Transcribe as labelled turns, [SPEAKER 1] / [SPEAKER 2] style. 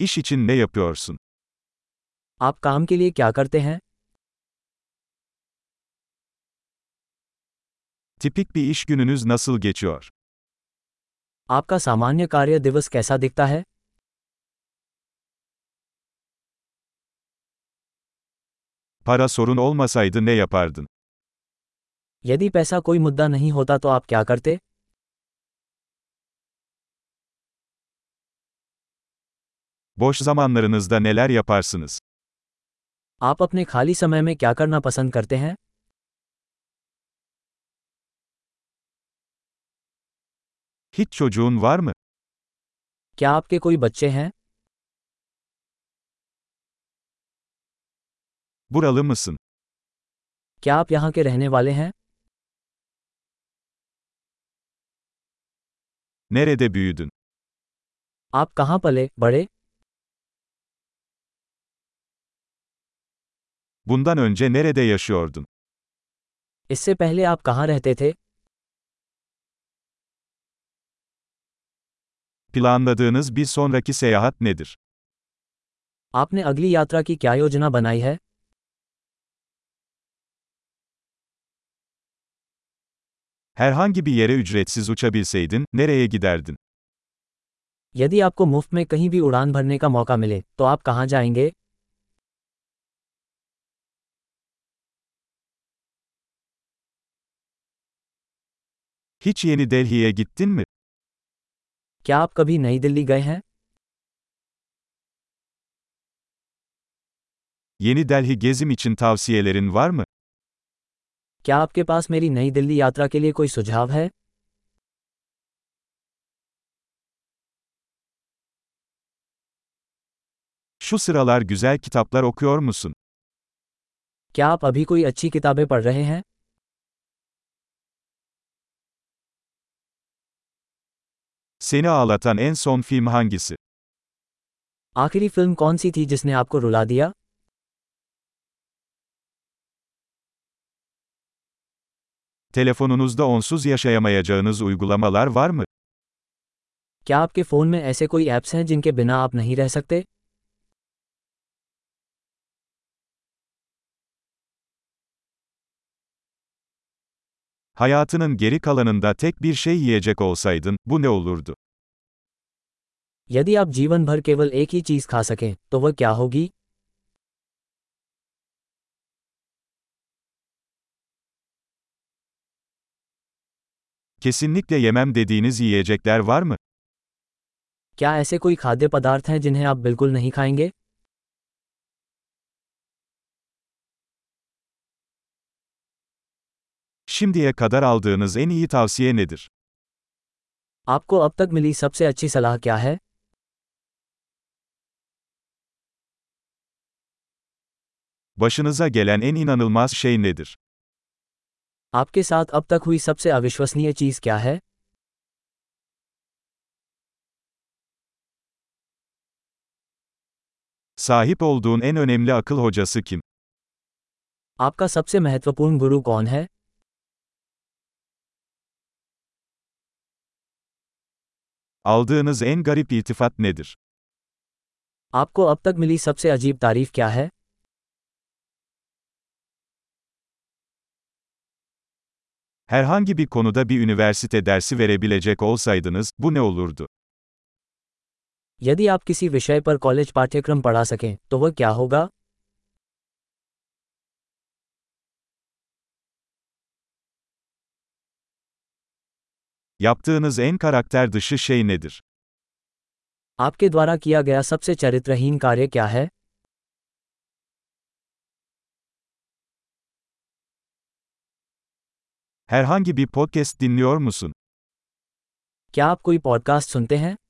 [SPEAKER 1] İş için ne yapıyorsun?
[SPEAKER 2] आप काम के लिए क्या करते हैं
[SPEAKER 1] Tipik bir iş gününüz nasıl geçiyor?
[SPEAKER 2] आपका सामान्य कार्य दिवस कैसा दिखता है
[SPEAKER 1] Para sorun olmasaydı ne yapardın?
[SPEAKER 2] यदि पैसा कोई मुद्दा नहीं होता तो आप क्या करते
[SPEAKER 1] Boş zamanlarınızda neler yaparsınız?
[SPEAKER 2] आप अपने खाली समय में क्या करना पसंद करते हैं
[SPEAKER 1] Hiç çocuğun var mı?
[SPEAKER 2] क्या आपके कोई बच्चे हैं
[SPEAKER 1] Buralı mısın?
[SPEAKER 2] क्या आप यहाँ के रहने वाले हैं
[SPEAKER 1] Nerede büyüdün?
[SPEAKER 2] आप कहाँ पले बड़े
[SPEAKER 1] Bundan önce nerede yaşıyordun?
[SPEAKER 2] इससे पहले आप कहाँ रहते थे
[SPEAKER 1] Planladığınız bir sonraki seyahat nedir?
[SPEAKER 2] आपने अगली यात्रा की क्या योजना बनाई है
[SPEAKER 1] Herhangi bir yere ücretsiz uçabilseydin, nereye giderdin?
[SPEAKER 2] यदि आपको मुफ्त में कहीं भी उड़ान भरने का मौका मिले तो आप कहाँ जाएंगे
[SPEAKER 1] Hiç Yeni Delhi'ye gittin mi?
[SPEAKER 2] क्या आप कभी नई दिल्ली गए हैं
[SPEAKER 1] Yeni Delhi gezim için tavsiyelerin var mı?
[SPEAKER 2] क्या आपके पास मेरी नई दिल्ली यात्रा के लिए कोई सुझाव है
[SPEAKER 1] Şu sıralar güzel kitaplar okuyor musun?
[SPEAKER 2] क्या आप अभी कोई अच्छी किताबें पढ़ रहे हैं
[SPEAKER 1] Seni ağlatan en son film hangisi?
[SPEAKER 2] आखिरी फिल्म कौन सी थी जिसने आपको रुला दिया
[SPEAKER 1] Telefonunuzda onsuz yaşayamayacağınız uygulamalar var mı?
[SPEAKER 2] क्या आपके फ़ोन में ऐसे कोई ऐप्स हैं जिनके बिना आप नहीं रह सकते
[SPEAKER 1] Hayatının geri kalanında tek bir şey yiyecek olsaydın, bu ne olurdu?
[SPEAKER 2] यदि आप जीवन भर केवल एक ही चीज़ खा सकें तो वह क्या होगी
[SPEAKER 1] Kesinlikle yemem dediğiniz yiyecekler var mı?
[SPEAKER 2] क्या ऐसे कोई खाद्य पदार्थ हैं जिन्हें आप बिल्कुल नहीं खाएंगे
[SPEAKER 1] Şimdiye kadar aldığınız en iyi tavsiye nedir?
[SPEAKER 2] आपको अब तक मिली सबसे अच्छी सलाह क्या है
[SPEAKER 1] Başınıza gelen en inanılmaz şey nedir?
[SPEAKER 2] आपके साथ अब तक हुई सबसे अविश्वसनीय चीज़ क्या है
[SPEAKER 1] Sahip olduğun en önemli akıl hocası kim?
[SPEAKER 2] आपका सबसे महत्वपूर्ण गुरु कौन है
[SPEAKER 1] Aldığınız en garip iltifat nedir?
[SPEAKER 2] आपको अब तक मिली सबसे अजीब तारीफ क्या है
[SPEAKER 1] Herhangi bir konuda bir üniversite dersi verebilecek olsaydınız, bu ne olurdu?
[SPEAKER 2] यदि आप किसी विषय पर कॉलेज पाठ्यक्रम पढ़ा सकें तो वह क्या होगा
[SPEAKER 1] Yaptığınız en karakter dışı şey nedir?
[SPEAKER 2] आपके द्वारा किया गया सबसे चरित्रहीन कार्य क्या है
[SPEAKER 1] Herhangi bir podcast dinliyor musun?
[SPEAKER 2] क्या आप कोई पॉडकास्ट सुनते हैं